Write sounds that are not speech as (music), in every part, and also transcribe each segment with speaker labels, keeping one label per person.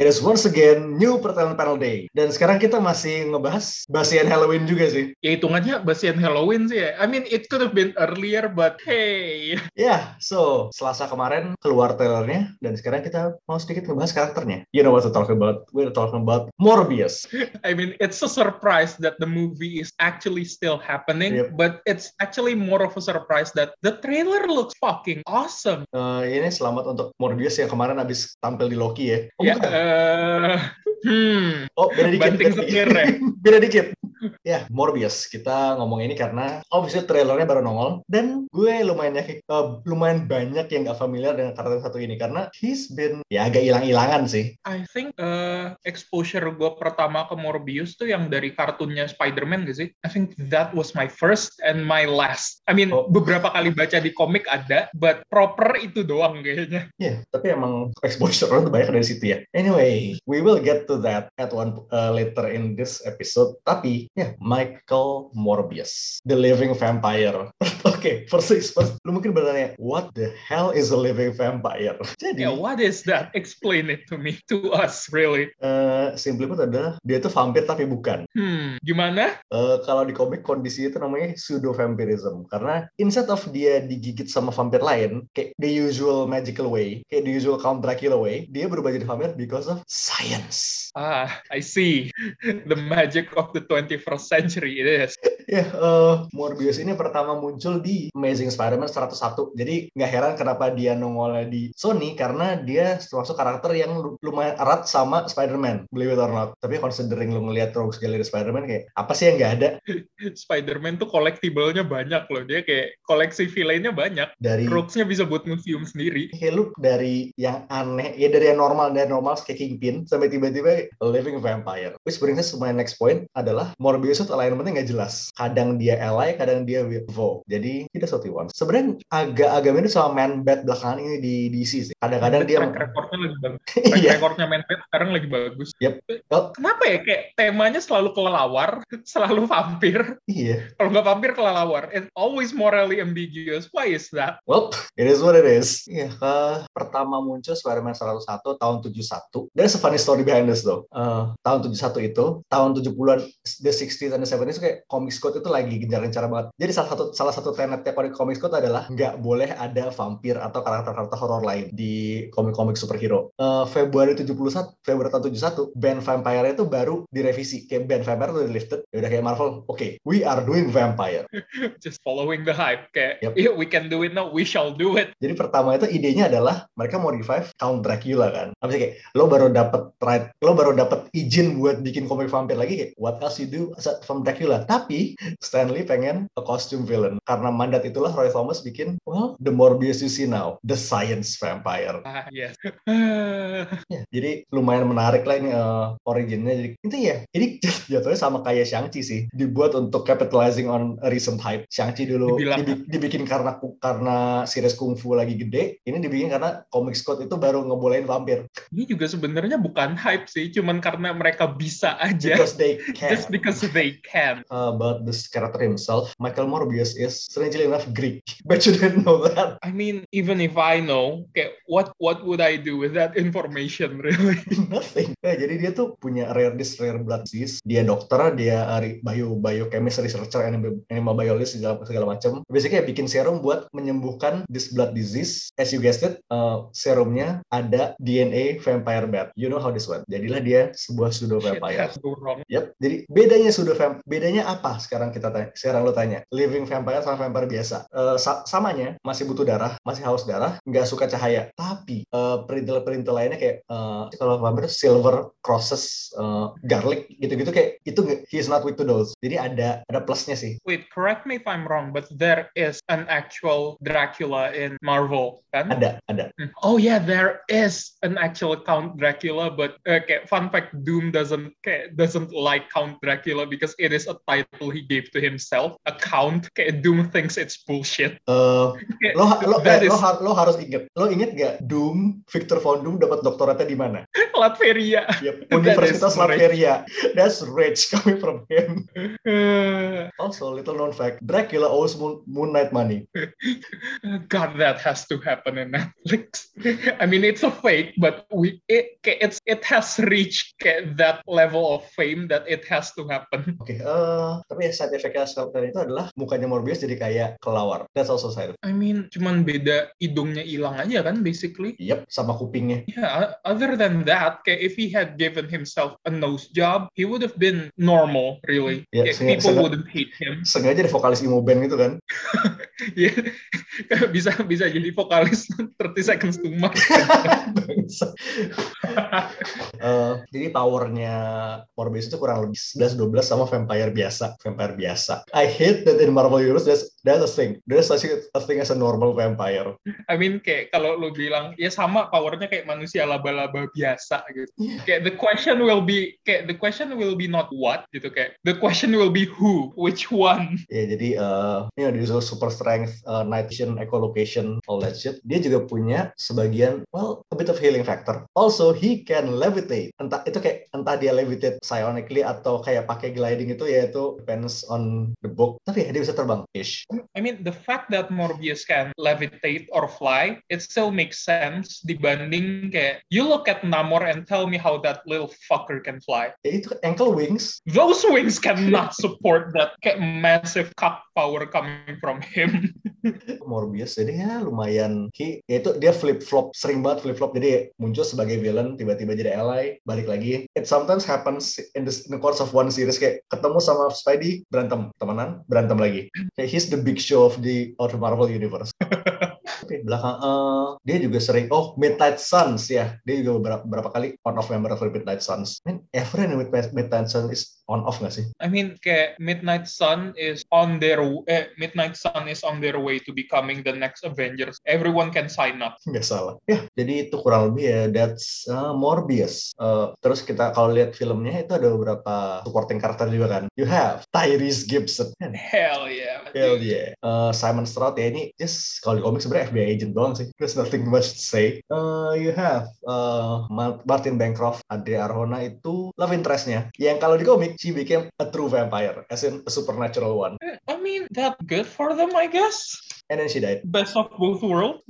Speaker 1: It is once again new Pertanyaan Panel Day. Dan sekarang kita masih ngebahas basian Halloween juga sih.
Speaker 2: Ya hitungannya basian Halloween sih ya. I mean it could have been earlier but hey.
Speaker 1: Ya, so Selasa kemarin keluar trailernya dan sekarang kita mau sedikit ngebahas karakternya. You know what to talk about. We're talking about Morbius.
Speaker 2: I mean it's a surprise that the movie is actually still happening
Speaker 1: Yep.
Speaker 2: but it's actually more of a surprise that the trailer looks fucking awesome.
Speaker 1: Eh, ini selamat untuk Morbius yang kemarin habis tampil di Loki ya. Oh,
Speaker 2: ya.
Speaker 1: bukan.
Speaker 2: eh, hmm.
Speaker 1: Oh, beda dikit.
Speaker 2: Banting
Speaker 1: beda
Speaker 2: setir
Speaker 1: dikit.
Speaker 2: ya.
Speaker 1: beda dikit. Ya, Morbius. Kita ngomong ini karena obviously trailernya baru nongol dan gue lumayan yakin, eh, lumayan banyak yang gak familiar dengan karakter satu ini karena he's been ya agak hilang-hilangan sih.
Speaker 2: I think eh, exposure gue pertama ke Morbius tuh yang dari kartunnya Spider-Man gak sih? I think that was my first and my last. I mean
Speaker 1: Oh.
Speaker 2: beberapa kali baca di komik ada, but proper itu doang kayaknya.
Speaker 1: Ya, tapi emang exposure orang tuh banyak dari situ ya. Anyway, we will get to that at one uh, later in this episode. Tapi ya, Michael Morbius, the living vampire. (laughs) Oke, first things first, lu mungkin bertanya, what the hell is a living vampire? (laughs) Jadi,
Speaker 2: Yeah, what is that? (laughs) Explain it to me, to us really.
Speaker 1: eh, simply put adalah dia tuh vampir tapi bukan.
Speaker 2: Hmm, gimana?
Speaker 1: Eh, kalau di komik kondisi itu namanya pseudo vampirism karena instead of dia digigit sama vampir lain kayak the usual magical way, kayak the usual Count Dracula way, dia berubah jadi vampir because of science.
Speaker 2: Ah, I see. (laughs) The magic of the 21st century it is.
Speaker 1: Ya, eh, Morbius ini pertama muncul di Amazing Spider-Man 101. Jadi nggak heran kenapa dia nongolnya di Sony karena dia termasuk karakter yang lu- lumayan erat sama Spider-Man, believe it or not. Tapi considering lu ngeliat Rogues Gallery Spider-Man kayak apa sih yang nggak ada
Speaker 2: Spider-Man tuh collectible-nya banyak loh. Dia kayak koleksi villain-nya banyak.
Speaker 1: dari
Speaker 2: Crooks-nya bisa buat museum sendiri.
Speaker 1: kayak Iya, lu dari yang aneh, ya dari yang normal, dari normal kayak Kingpin, sampai tiba-tiba a living vampire. Which brings us to my next point adalah Morbius itu alignment-nya nggak jelas. Kadang dia ally, kadang dia Wilvo. Jadi tidak satu one. Sebenarnya agak-agak mirip sama Man Bat belakangan ini di DC sih. Kadang-kadang dia
Speaker 2: track recordnya lagi bagus. Track
Speaker 1: (laughs) Iya.
Speaker 2: recordnya Manfred sekarang lagi bagus.
Speaker 1: Yep. Oh.
Speaker 2: Kenapa ya kayak temanya selalu kelelawar, (laughs) selalu vampir.
Speaker 1: iya.
Speaker 2: Kalau nggak vampir kelelawar. It's always morally ambiguous. Why is that?
Speaker 1: Well, it is what it is. Iya, eh, pertama muncul Spider-Man 101 tahun 71. There's a funny story behind this though. Eh, tahun 71 itu, tahun 70-an the 60s and the 70s itu kayak comics code itu lagi gencar-gencar banget. Jadi salah satu salah satu tenetnya komik comics code adalah nggak boleh ada vampir atau karakter-karakter horor lain di komik-komik superhero. Eh, Februari 71, Februari tahun 71, band vampire itu baru direvisi. Kayak band vampire itu udah lifted. Ya udah kayak Marvel, oke, we are doing vampire.
Speaker 2: Just following the hype. Kayak,
Speaker 1: Yep.
Speaker 2: "Yeah, we can do it now, we shall do it.
Speaker 1: Jadi pertama itu idenya adalah mereka mau revive Count Dracula kan. Habis itu kayak lo baru dapat right, lo baru dapat izin buat bikin komik vampir lagi kayak what else you do aside from Dracula. Tapi Stanley pengen a costume villain karena mandat itulah Roy Thomas bikin well the Morbius you see now, the science vampire.
Speaker 2: Ah, yes. (sighs)
Speaker 1: Ya, jadi lumayan menarik lah ini eh, originnya. Jadi (laughs) itu ya, ini jatuhnya sama kayak Shang-Chi sih, dibuat untuk capitalizing on a recent hype. Shang-Chi dulu
Speaker 2: Dibilang-
Speaker 1: dibi- dibikin karena ku- karena series kungfu lagi gede, ini dibikin karena comic code itu baru ngebolehin
Speaker 2: (laughs)
Speaker 1: vampir
Speaker 2: Ini juga sebenarnya bukan hype sih, cuman karena mereka bisa aja.
Speaker 1: because
Speaker 2: (laughs)
Speaker 1: they can.
Speaker 2: Ya. Just because they can.
Speaker 1: about this character himself, Michael Morbius is strangely enough Greek, (laughs) but you didn't know that.
Speaker 2: I mean, even if I know, kayak what what would I do with that information (laughs) really?
Speaker 1: (laughs) Nothing. Ya, jadi dia tuh punya rare disease, rare blood disease. Dia dokter, dia ari- bio biochemist researcher, animal, animal biologist segala, segala macam. Basically ya, bikin serum buat menyembuhkan this blood disease. As you guessed it, uh, serumnya ada DNA vampire bat. You know how this one. Jadilah dia sebuah pseudo
Speaker 2: Shit
Speaker 1: vampire.
Speaker 2: has go wrong.
Speaker 1: Yep. Jadi bedanya pseudo vamp, bedanya apa? Sekarang kita tanya, sekarang lo tanya. Living vampire sama vampire biasa. Eh, sa- samanya, masih butuh darah, masih haus darah, nggak suka cahaya. Tapi eh, perintil-perintil lainnya kayak eh, kalau vampire tuh silver crosses, eh, garlic gitu-gitu kayak itu nggak- he is not weak to those. Jadi ada ada plusnya sih.
Speaker 2: Wait, correct me if I'm wrong, but there is an actual Dracula in Marvel, kan?
Speaker 1: Ada, ada.
Speaker 2: Hmm, oh yeah, there is an actual Count Dracula, but uh, kayak fun fact, Doom doesn't kayak doesn't like Count Dracula because it is a title he gave to himself. A count, kayak Doom thinks it's bullshit. (laughs)
Speaker 1: Eh,
Speaker 2: Kayak,
Speaker 1: lo
Speaker 2: (laughs)
Speaker 1: lo,
Speaker 2: that
Speaker 1: eh, lo,
Speaker 2: is
Speaker 1: har- lo harus inget lo inget gak Doom Victor Von Doom dapat doktoratnya di mana
Speaker 2: Latveria. (laughs)
Speaker 1: Yep,
Speaker 2: That
Speaker 1: Universitas
Speaker 2: is rich.
Speaker 1: Latveria that's rich (laughs) coming from him
Speaker 2: Uh,
Speaker 1: also little known fact Dracula owes Moon, Moon Knight money
Speaker 2: God, that has to happen in Netflix. (laughs) I mean, it's a fake, but we it kayak it's it has reached kayak that level of fame that it has to happen.
Speaker 1: oke eh, tapi side effect-nya selain itu adalah mukanya Morbius jadi kayak kelawar that's also side effect
Speaker 2: I mean, cuman beda hidungnya hilang aja kan, basically.
Speaker 1: yep sama kupingnya
Speaker 2: Yeah, other than that, kayak if he had given himself a nose job, he would have been normal, really.
Speaker 1: Yeah,
Speaker 2: Kayak
Speaker 1: so-
Speaker 2: people
Speaker 1: so-
Speaker 2: wouldn't hate him. (laughs)
Speaker 1: sengaja di vokalis emo band gitu kan (laughs)
Speaker 2: Yeah. (laughs) bisa bisa jadi vokalis (laughs) 30 seconds to Mars.
Speaker 1: Bangsa. Eh, jadi powernya Morbius itu kurang lebih 11-12 sama vampire biasa. Vampire biasa. I hate that in Marvel Universe that's, that's a thing. There's such a, a thing as a normal vampire.
Speaker 2: (laughs) I mean, kayak kalau lu bilang, ya sama powernya kayak manusia laba-laba biasa gitu.
Speaker 1: Yeah.
Speaker 2: Kayak the question will be, kayak the question will be not what gitu kayak. The question will be who, which one.
Speaker 1: Ya jadi eh you know, dia juga super strength, eh, night vision, echolocation, all that shit. Dia juga punya sebagian, well, a bit of healing factor. Also, he can levitate. Entah itu kayak entah dia levitate psionically atau kayak pakai gliding itu ya itu depends on the book. Tapi ya, dia bisa terbang ish.
Speaker 2: I mean, the fact that Morbius can levitate or fly, it still makes sense dibanding kayak, you look at Namor and tell me how that little fucker can fly.
Speaker 1: Ya itu ankle wings
Speaker 2: Those wings cannot support that kayak massive cock power coming from him.
Speaker 1: Morbius jadi ya lumayan ki ya itu dia flip flop sering banget flip flop jadi muncul sebagai villain tiba-tiba jadi ally balik lagi it sometimes happens in the, in the course of one series kayak ketemu sama Spidey berantem temenan berantem lagi kayak he's the big show of the of the Marvel universe (laughs) Oke, belakang eh, dia juga sering oh Midnight Suns ya dia juga beberapa, beberapa kali on off member of Midnight Suns man everyone with Midnight Suns is on off nggak sih
Speaker 2: I mean, kayak Midnight Sun is on their eh, Midnight Sun is on their way to becoming the next Avengers. Everyone can sign up.
Speaker 1: nggak salah ya jadi itu kurang lebih ya that's uh, Morbius Uh, terus kita kalau lihat filmnya itu ada beberapa supporting karakter juga kan you have Tyrese Gibson Man,
Speaker 2: Hell yeah.
Speaker 1: Hell yeah. Uh, Simon Stroud ya ini just kalau di komik sebenarnya FBI agent doang sih. There's nothing much to say. Uh, you have uh, Ma- Martin Bancroft, Andre Arjona itu love interestnya. Yang kalau di komik she became a true vampire, as in a supernatural one.
Speaker 2: I mean, that good for them, I guess.
Speaker 1: And then she died.
Speaker 2: Best of both
Speaker 1: (laughs)
Speaker 2: worlds.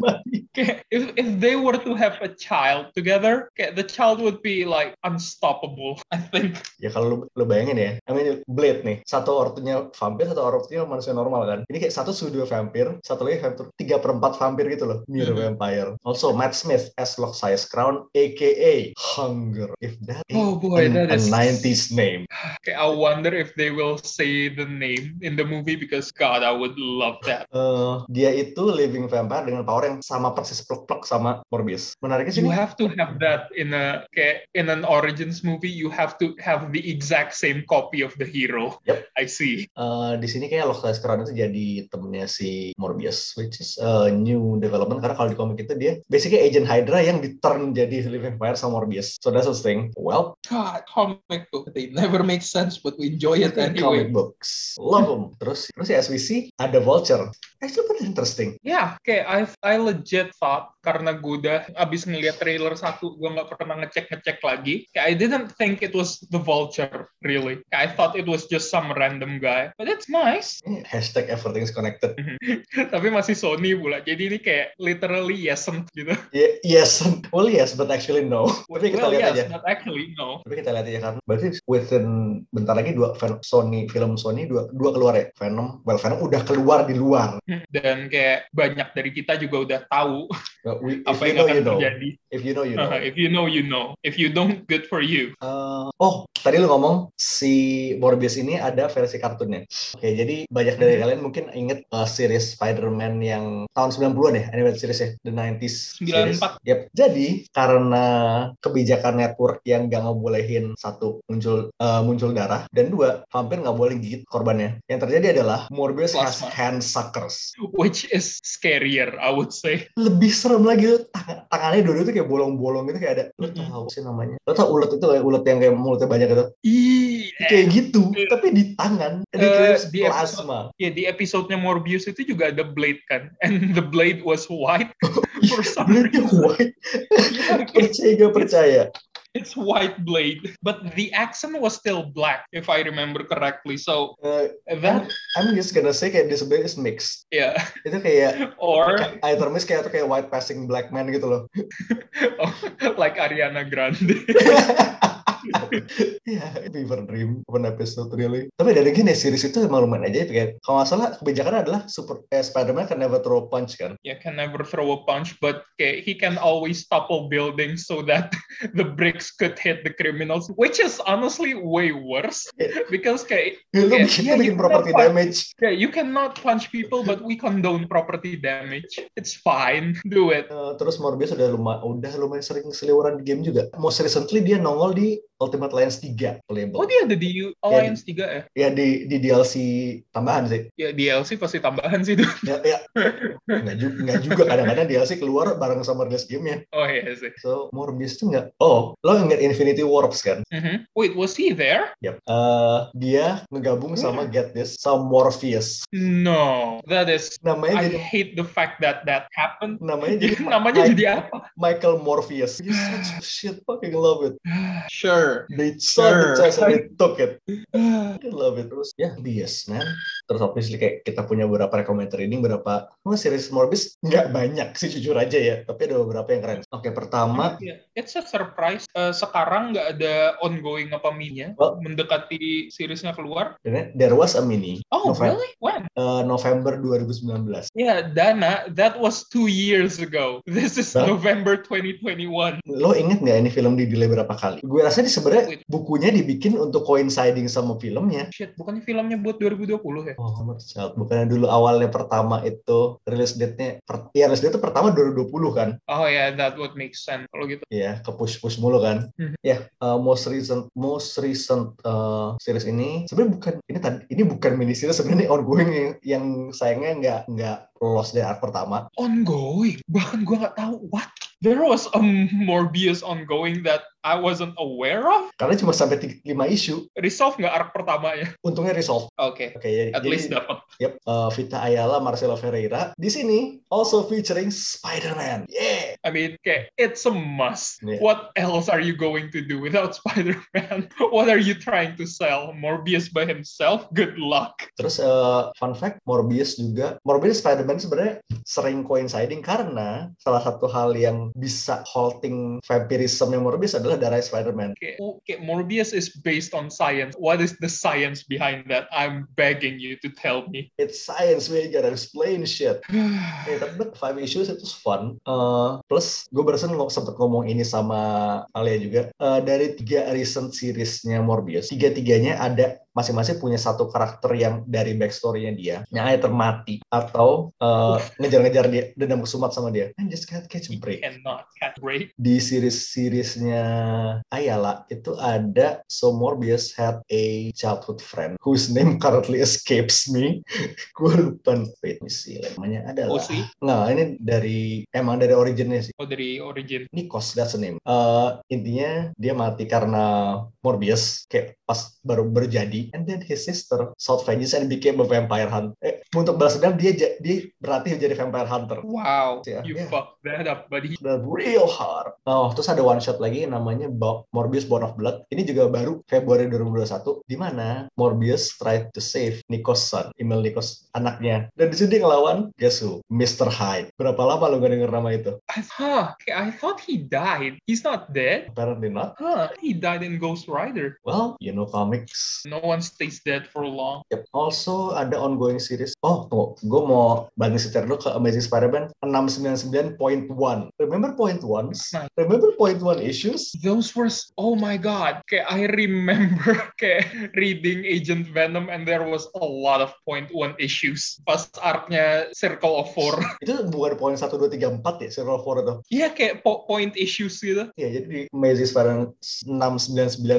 Speaker 2: Kayak, if, if they were to have a child together, kayak, the child would be like unstoppable, I think.
Speaker 1: Ya kalau lu, lu bayangin ya, I mean Blade nih, satu ortunya vampir, satu ortunya manusia normal kan. Ini kayak satu sudah vampir, satu lagi vampir, tiga perempat vampir gitu loh. Mirror
Speaker 2: Mhm.
Speaker 1: vampire. Also Matt Smith as Lock Size Crown, aka Hunger. If that is
Speaker 2: Oh boy,
Speaker 1: a,
Speaker 2: that
Speaker 1: a
Speaker 2: is.
Speaker 1: 90s name.
Speaker 2: Kayak, I wonder if they will say the name in the movie because God, I would love that.
Speaker 1: Eh, dia itu living vampire dengan power yang sama persis plek-plek sama Morbius. Menariknya sih
Speaker 2: You
Speaker 1: ini-
Speaker 2: have to have that in a kayak, in an origins movie. You have to have the exact same copy of the hero.
Speaker 1: Yep.
Speaker 2: I see.
Speaker 1: Eh, di sini kayak Locke Crown itu jadi temennya si Morbius, which is a new development karena kalau di komik itu dia basically agent Hydra yang di turn jadi Living Vampire sama Morbius. So that's the thing. Well,
Speaker 2: God, comic book. They never make sense, but we enjoy it
Speaker 1: comic
Speaker 2: anyway.
Speaker 1: books, love them. Terus terus ya as we see ada Vulture. Actually pretty interesting.
Speaker 2: Yeah, Ya, kayak I, I legit thought karena gue udah abis ngeliat trailer satu, gue nggak pernah ngecek-ngecek lagi. Kayak I didn't think it was the Vulture, really. Kayak I thought it was just some random guy. But it's nice. (laughs)
Speaker 1: Eh, Hashtag everything is connected.
Speaker 2: Mhm. Tapi masih Sony pula. Jadi ini kayak literally yesent gitu.
Speaker 1: Ye- yes, (laughs) well yes, but actually no. Tapi kita
Speaker 2: Well,
Speaker 1: lihat
Speaker 2: yes,
Speaker 1: aja.
Speaker 2: but actually no. (laughs)
Speaker 1: Tapi kita lihat aja kan. Berarti within bentar lagi dua Ven- Sony film Sony dua dua keluar ya. Venom, well Venom udah keluar di luar.
Speaker 2: dan kayak banyak dari kita juga udah tahu
Speaker 1: But we- if
Speaker 2: (laughs) apa
Speaker 1: you
Speaker 2: yang
Speaker 1: know
Speaker 2: akan
Speaker 1: you know.
Speaker 2: terjadi.
Speaker 1: If you know you know.
Speaker 2: Uh-huh, if you know, you know. If you don't, good for you.
Speaker 1: Eh, oh, tadi lu ngomong si Morbius ini ada versi kartunnya. Oke, jadi banyak dari
Speaker 2: Hmm.
Speaker 1: kalian mungkin inget eh, series Spider-Man yang tahun 90-an ya, animated series ya, the 90s series.
Speaker 2: 94.
Speaker 1: Yep. Jadi, karena kebijakan network yang gak ngebolehin satu muncul eh, muncul darah dan dua vampir nggak boleh gigit korbannya. Yang terjadi adalah Morbius has
Speaker 2: Plasma.
Speaker 1: hand suckers.
Speaker 2: which is scarier, I would say.
Speaker 1: lebih serem lagi tuh tang- tangannya dulu tuh kayak bolong-bolong gitu kayak ada lu
Speaker 2: Mm-mm.
Speaker 1: tahu sih namanya lu tau ulet itu kayak ulet yang kayak mulutnya banyak gitu
Speaker 2: Ih,
Speaker 1: kayak gitu
Speaker 2: Eh.
Speaker 1: tapi di tangan
Speaker 2: Eh,
Speaker 1: dia kayak
Speaker 2: di episode-
Speaker 1: plasma (laughs)
Speaker 2: Ya di episode-nya Morbius itu juga ada blade kan, (laughs) and the blade was white for some
Speaker 1: Blade-nya
Speaker 2: reason. (laughs)
Speaker 1: white
Speaker 2: Yeah, it's,
Speaker 1: percaya gak percaya
Speaker 2: (laughs) it's white blade, but the accent was still black if I remember correctly. So
Speaker 1: Eh,
Speaker 2: that
Speaker 1: I'm just gonna say kayak this is mixed
Speaker 2: yeah, (laughs)
Speaker 1: itu kayak
Speaker 2: or
Speaker 1: either mixed kayak atau kayak white passing black man gitu loh (laughs)
Speaker 2: like Ariana Grande. (laughs)
Speaker 1: Iya, Fever Dream open episode really. Tapi dari gini series itu emang lumayan aja ya. Kalau nggak salah kebijakan adalah super eh, Spider-Man can never throw a punch kan.
Speaker 2: yeah, can never throw a punch, but okay, he can always topple buildings so that (laughs) the bricks could hit the criminals, which is honestly way worse
Speaker 1: Yeah.
Speaker 2: because okay,
Speaker 1: Itu
Speaker 2: Iya,
Speaker 1: bikin,
Speaker 2: iya,
Speaker 1: itu bikin
Speaker 2: iya,
Speaker 1: property
Speaker 2: iya.
Speaker 1: damage.
Speaker 2: okay, you cannot punch people, but we condone property damage. It's fine, do it.
Speaker 1: Eh, terus Morbius udah lumayan, udah lumayan sering seliweran di game juga. Most recently dia nongol di Ultimate Alliance 3
Speaker 2: Oh
Speaker 1: playable.
Speaker 2: dia ada di U- Alliance 3 ya?
Speaker 1: Ya di, di DLC tambahan sih.
Speaker 2: Ya DLC pasti tambahan sih. dude.
Speaker 1: Ya, ya. Nggak, ju- nggak juga kadang-kadang DLC keluar bareng sama release gamenya.
Speaker 2: (laughs) Oh iya sih.
Speaker 1: So Morbius tuh nggak. Oh, lo ingat Infinity Warps kan?
Speaker 2: Mhm. Wait, was he there?
Speaker 1: Yep. Eh, dia ngegabung sama Get This sama Morpheus.
Speaker 2: No, that is.
Speaker 1: Namanya
Speaker 2: I
Speaker 1: jadi
Speaker 2: hate the fact that that happened.
Speaker 1: namanya jadi
Speaker 2: (laughs) Namanya
Speaker 1: Mi-
Speaker 2: jadi apa? (sighs)
Speaker 1: Michael Morpheus. You such shit fucking love it.
Speaker 2: (sighs) Sure.
Speaker 1: They saw the
Speaker 2: Sure.
Speaker 1: chance and they took it. I love it terus ya bias man terus obviously kayak kita punya beberapa recommended reading berapa oh, series Morbis nggak banyak sih jujur aja ya tapi ada beberapa yang keren oke pertama
Speaker 2: Yeah, Ya, It's a surprise. Eh, sekarang nggak ada ongoing apa minya
Speaker 1: Well-
Speaker 2: mendekati seriesnya keluar.
Speaker 1: there was a mini
Speaker 2: Oh,
Speaker 1: November,
Speaker 2: really? When?
Speaker 1: eh, November 2019
Speaker 2: Yeah, Dana, that was two years ago. This is
Speaker 1: Huh?
Speaker 2: November 2021.
Speaker 1: lo inget nggak ini film di delay berapa kali gue rasa ini sebenarnya
Speaker 2: Wait.
Speaker 1: bukunya dibikin untuk coinciding sama filmnya
Speaker 2: Shit, bukannya filmnya buat 2020 ya?
Speaker 1: Oh, kamu child. Bukannya dulu awalnya pertama itu release date-nya, per, ya release date itu pertama 2020 kan?
Speaker 2: Oh ya, yeah, that would make sense kalau gitu.
Speaker 1: ya ke push push mulu kan
Speaker 2: Mhm.
Speaker 1: ya uh, most recent most recent uh, series ini sebenarnya bukan ini tadi ini bukan mini series sebenarnya ini ongoing yang, yang sayangnya nggak nggak lolos dari arc pertama
Speaker 2: Ongoing? (laughs) Bahkan gua nggak tahu what. There was a Morbius ongoing that I wasn't aware of.
Speaker 1: karena cuma sampai 5 isu
Speaker 2: Resolve nggak arc pertamanya?
Speaker 1: untungnya resolve
Speaker 2: Oke,
Speaker 1: oke ya
Speaker 2: at least dapat.
Speaker 1: yep, uh, Vita Ayala Marcelo Ferreira di sini also featuring Spider-Man yeah
Speaker 2: I mean, okay, it's a must.
Speaker 1: Yeah.
Speaker 2: What else are you going to do without (laughs) Spider-Man? What are you trying to sell? Morbius by himself? Good luck.
Speaker 1: terus uh, fun fact Morbius juga Morbius Spider-Man sebenarnya sering coinciding karena salah satu hal yang bisa halting vampirism yang Morbius adalah darah Spider-Man
Speaker 2: Okay. okay, Morbius is based on science. What is the science behind that? I'm begging you to tell me. (sighs)
Speaker 1: It's science, we gotta explain shit. Eh, tapi but five issues itu fun. Eh, plus, gue barusan lo sempet ngomong ini sama Alia juga. Eh, dari tiga recent seriesnya Morbius, tiga-tiganya ada masing-masing punya satu karakter yang dari backstory-nya dia, yang either mati atau eh, ngejar-ngejar dia, dendam kesumat sama dia. And just can't catch a break.
Speaker 2: Cannot cat break.
Speaker 1: Di series-seriesnya Ayala, itu ada So Morbius had a childhood friend whose name currently escapes me (laughs) gue lupa wait let me see namanya ada lah
Speaker 2: OC?
Speaker 1: nah ini dari emang dari originnya sih
Speaker 2: Oh, dari origin.
Speaker 1: Nikos that's the name Eh, intinya dia mati karena Morbius kayak pas baru berjadi and then his sister sought vengeance and became a vampire hunter eh, untuk balas dendam dia ja- dia berarti jadi vampire hunter
Speaker 2: Wow,
Speaker 1: Yeah,
Speaker 2: you
Speaker 1: yeah.
Speaker 2: fucked that up, buddy.
Speaker 1: The real hard. Oh, terus ada one shot lagi namanya Bo- Morbius Born of Blood. Ini juga baru Februari 2021 di mana Morbius tried to save Nikos son, Emil Nikos anaknya. Dan di sini dia ngelawan guess who? Mr. Hyde. Berapa lama lo gak denger nama itu?
Speaker 2: I, huh, okay, I thought he died. He's not dead.
Speaker 1: Apparently not.
Speaker 2: Huh, he died in Ghost Rider.
Speaker 1: Well, you know comics.
Speaker 2: No one stays dead for long.
Speaker 1: Yep. Also ada ongoing series. Oh, tunggu. Gue mau banding setir dulu ke Amazing Spider-Man 699.1. Remember point one?
Speaker 2: Nah.
Speaker 1: Remember point one issues?
Speaker 2: those were s- oh my god okay i remember (laughs) okay, reading agent venom and there was a lot of point one issues pas artnya circle of four (laughs)
Speaker 1: Itu bukan point 1, 2, 3, 4 ya, Serial 4 itu.
Speaker 2: iya kayak po- point issues gitu
Speaker 1: Iya, Ya, jadi di Amazing Spider-Man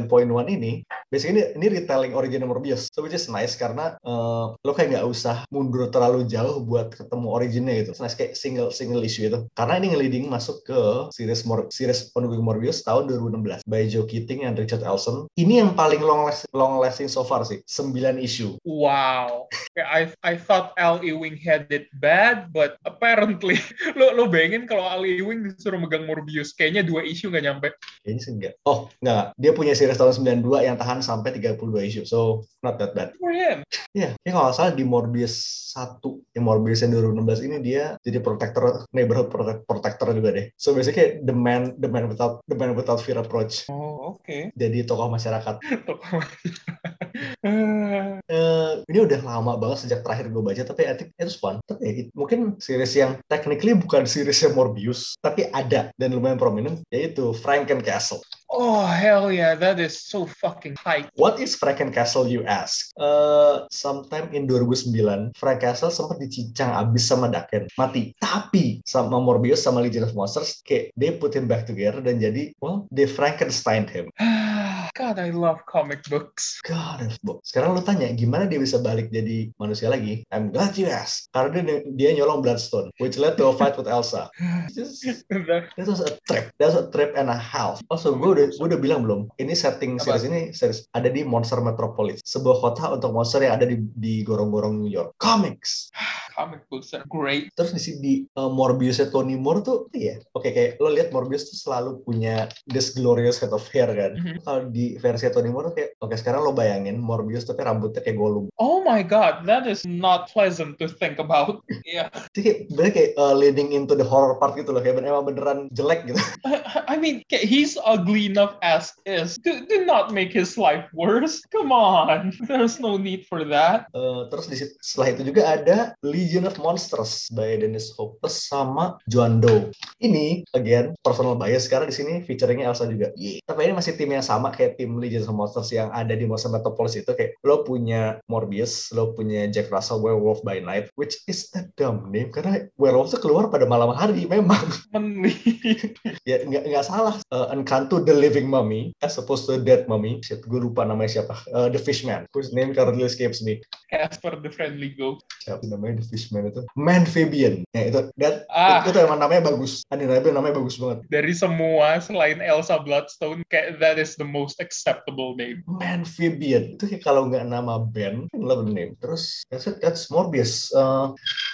Speaker 1: 699.1 ini, basically ini, ini retelling origin Morbius. So which is nice karena eh, lo kayak nggak usah mundur terlalu jauh buat ketemu originnya gitu. It's nice kayak single single issue itu. Karena ini ngeliding masuk ke series Mor series Ongoing Morbius tahun 2016 by Joe Keating and Richard Elson. Ini yang paling long last long lasting so far sih, 9 issue.
Speaker 2: Wow. Kayak I I thought Al Ewing had it bad, but apparently (laughs) lo lo bayangin kalau Al Ewing disuruh megang Morbius, kayaknya dua isu nggak nyampe.
Speaker 1: Kayaknya sih enggak. Oh, enggak. Dia punya series tahun 92 yang tahan sampai 32 issue. So, not that bad.
Speaker 2: For him.
Speaker 1: Iya, ini kalau nggak salah di Morbius 1, yang Morbius yang 2016 ini dia jadi protector, neighborhood protect- protector juga deh. So basically the man, the man without, the man without fear approach.
Speaker 2: Oh oke.
Speaker 1: Jadi tokoh masyarakat.
Speaker 2: Eh,
Speaker 1: Eh, ini udah lama banget sejak terakhir gue baca, tapi I think it's fun. Tapi ya, it- mungkin series yang technically bukan seriesnya Morbius, tapi ada dan lumayan prominent, yaitu Franken Castle.
Speaker 2: (laughs) oh hell yeah, that is so fucking hype. (sighs)
Speaker 1: What is Franken Castle you ask? Eh, sometime in 2009, Frank Castle sempat dicincang abis sama Daken. Mati. Tapi sama Morbius sama Legion of Monsters, kayak they put him back together dan jadi, well, they Frankenstein him.
Speaker 2: God, I love comic books. (laughs)
Speaker 1: God of book. Sekarang lu tanya, gimana dia bisa balik jadi manusia lagi? I'm glad you asked. Karena dia, dia nyolong Bloodstone, which led to a fight with Elsa. Just- That was a trip. That was a trip and a half. Also, gue udah, gue udah bilang belum. Ini setting
Speaker 2: Apa?
Speaker 1: series ini series ada di Monster Metropolis, sebuah kota untuk monster yang ada di di gorong-gorong New York. Comics.
Speaker 2: comic books are great.
Speaker 1: Terus di si- di uh, Morbius at Tony Moore tuh, iya. Oke, kayak lo lihat Morbius tuh selalu punya this glorious head of hair kan.
Speaker 2: Mhm.
Speaker 1: Kalau di versi Tony Moore tuh kayak, oke sekarang lo bayangin Morbius tapi rambutnya kayak Gollum.
Speaker 2: Oh my god, that is not pleasant to think about. (laughs) Yeah.
Speaker 1: Jadi kayak, bener kayak uh, leading into the horror part gitu loh. Kayak emang beneran jelek gitu.
Speaker 2: I mean, k- he's ugly enough as is. Do, do not make his life worse. Come on. (laughs) There's no need for that.
Speaker 1: Uh, terus di sit- setelah itu juga ada Legion of Monsters by Dennis Hopeless sama John Doe. Ini again personal bias karena di sini featuringnya Elsa juga. Yeay. Tapi ini masih tim yang sama kayak tim Legion of Monsters yang ada di Monster Metropolis itu kayak lo punya Morbius, lo punya Jack Russell Werewolf by Night, which is a dumb name karena werewolf tuh keluar pada malam hari (laughs) memang.
Speaker 2: (laughs) Manly.
Speaker 1: ya nggak nggak salah. Uh, Encanto the Living Mummy as opposed to Dead Mummy. Shit, gue lupa namanya siapa. Uh, the Fishman, whose name currently escapes me.
Speaker 2: Casper the Friendly Ghost.
Speaker 1: siapa namanya The Fishman itu Manfabian ya itu dan
Speaker 2: Ah.
Speaker 1: itu emang namanya bagus Aninabel namanya bagus banget
Speaker 2: Dari semua selain Elsa Bloodstone, kayak that is the most acceptable name.
Speaker 1: Manfabian itu kayak kalau nggak nama band kan love the name terus that's it that's Morbius Eh,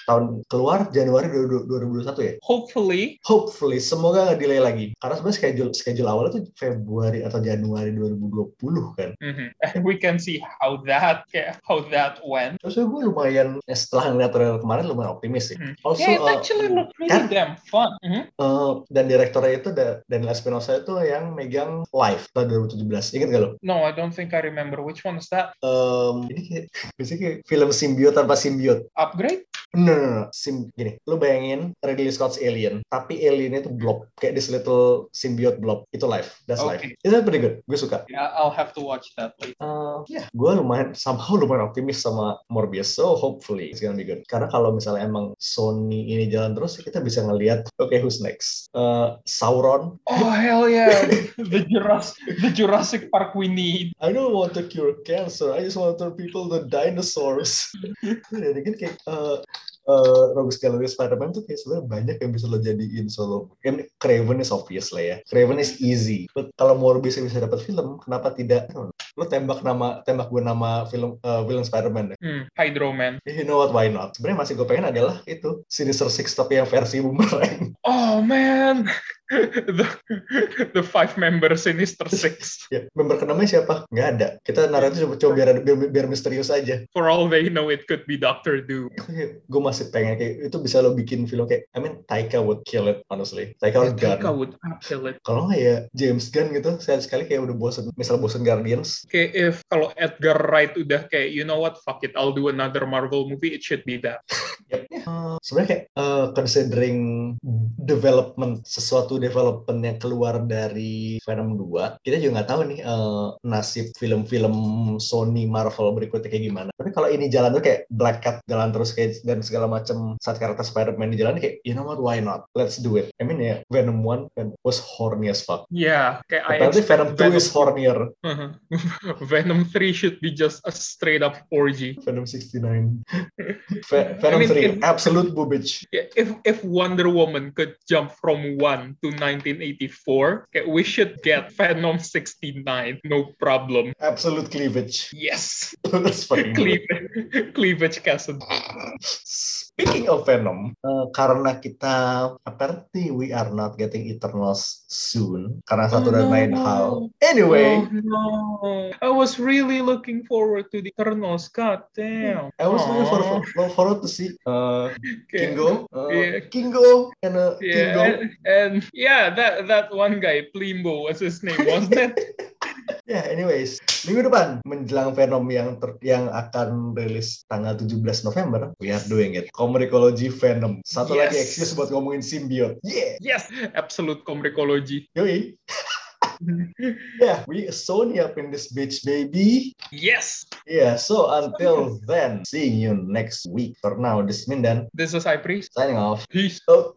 Speaker 1: tahun keluar Januari 2021 ya
Speaker 2: Hopefully,
Speaker 1: Hopefully, semoga nggak delay lagi. Karena sebenarnya schedule schedule awalnya tuh Februari atau Januari 2020 kan.
Speaker 2: mhm, (laughs) we can see how that kayak how that went.
Speaker 1: Terus gue lumayan eh, setelah ngeliat trailer kemarin lumayan optimis sih.
Speaker 2: Hmm.
Speaker 1: Also,
Speaker 2: yeah, it
Speaker 1: eh,
Speaker 2: actually looked pretty
Speaker 1: kan-
Speaker 2: damn fun. Mhm.
Speaker 1: eh, dan direktornya itu da- Daniel Espinosa itu yang megang Live tahun 2017. Ingat nggak lo?
Speaker 2: No, I don't think I remember. Which one is that?
Speaker 1: Em, ini kayak, (laughs) biasanya kayak film simbiot tanpa simbiot.
Speaker 2: Upgrade?
Speaker 1: No, no, no. Sim, gini, lu bayangin Ridley Scott's Alien, tapi aliennya itu blob, kayak this little symbiote blob. Itu live, that's live.
Speaker 2: Okay.
Speaker 1: Itu pretty good, gue suka.
Speaker 2: Yeah, I'll have to watch that later.
Speaker 1: Eh, ya, gue lumayan, somehow lumayan optimis sama Morbius, so hopefully it's gonna be good. Karena kalau misalnya emang Sony ini jalan terus, kita bisa ngelihat, oke, who's next? Eh, Sauron,
Speaker 2: Oh hell yeah! (laughs) the Jurassic the Jurassic Park we need.
Speaker 1: I don't want to cure cancer. I just want to turn people to dinosaurs. Dan again kayak uh, uh, Rogue Gallery Spider-Man tuh kayak sebenarnya banyak yang bisa lo jadiin solo. Kan Craven is obvious lah ya. Craven is easy. But kalau Morbius yang bisa dapat film, kenapa tidak? Lo tembak nama tembak gue nama film uh, villain Spider-Man deh.
Speaker 2: Hmm, Hydro Man.
Speaker 1: You know what, why not? Sebenarnya masih gue pengen adalah itu Sinister Six tapi yang versi Boomerang. (laughs)
Speaker 2: Oh man, (laughs) the the five member Sinister Six.
Speaker 1: ya, member namanya siapa? Nggak ada. Kita naruh itu coba, coba biar, biar, biar misterius aja.
Speaker 2: For all they know, it could be Doctor Doom.
Speaker 1: gue masih pengen kayak itu bisa lo bikin film kayak I mean Taika would kill it honestly Taika would
Speaker 2: Ya, Taika
Speaker 1: gun
Speaker 2: would kill it.
Speaker 1: kalau nggak ya James Gunn gitu saya sekali kayak udah bosen misal bosen Guardians
Speaker 2: Kayak if kalau Edgar Wright udah kayak you know what fuck it, I'll do another Marvel movie. It should be that.
Speaker 1: ya Eh, sebenarnya kayak eh, considering development sesuatu development yang keluar dari Venom 2 kita juga nggak tahu nih eh, nasib film-film Sony Marvel berikutnya kayak gimana tapi kalau ini jalan tuh kayak Black Cat jalan terus kayak dan segala macam saat karakter Spider-Man di jalan kayak you know what why not let's do it I mean ya Venom 1 kan was horny as fuck
Speaker 2: Yeah, kayak I
Speaker 1: tapi
Speaker 2: expect
Speaker 1: Venom 2 is hornier
Speaker 2: (laughs) Venom 3 should be just a straight up orgy.
Speaker 1: Venom
Speaker 2: (laughs)
Speaker 1: 69 Ve- Venom
Speaker 2: I mean,
Speaker 1: 3
Speaker 2: it-
Speaker 1: absolute boobage
Speaker 2: Yeah, If if Wonder Woman could jump from 1 to 1984, okay, we should get Venom 69, no problem.
Speaker 1: absolute cleavage (laughs)
Speaker 2: (laughs) Yes,
Speaker 1: that's fucking good.
Speaker 2: cleavage, cleavage Cassidy.
Speaker 1: Oh, Speaking of Venom, eh, karena kita apparently we are not getting Eternals soon karena satu
Speaker 2: Oh,
Speaker 1: dan
Speaker 2: no.
Speaker 1: lain hal. Anyway,
Speaker 2: Oh no! I was really looking forward to the Eternals. God damn!
Speaker 1: I was looking for,
Speaker 2: Aw.
Speaker 1: for, for to see uh,
Speaker 2: Okay.
Speaker 1: Kingo, uh,
Speaker 2: Yeah.
Speaker 1: Kingo, and uh, Kingo.
Speaker 2: Yeah, and, and yeah, that that one guy, Plimbo, was his name, wasn't
Speaker 1: (laughs)
Speaker 2: it?
Speaker 1: Ya, anyways, minggu depan menjelang Venom yang ter- yang akan rilis tanggal 17 November, we are doing it. Comicology Venom. Satu lagi
Speaker 2: Yes.
Speaker 1: excuse buat ngomongin simbiot. Yeah.
Speaker 2: yes, absolute comicology.
Speaker 1: Yoi. Yeah, we Sony up in this bitch, baby.
Speaker 2: (laughs) yes,
Speaker 1: Yeah, so until then, seeing you next week. For now, this is Mindan
Speaker 2: this is High Priest.
Speaker 1: signing off.
Speaker 2: Peace.
Speaker 1: Oh,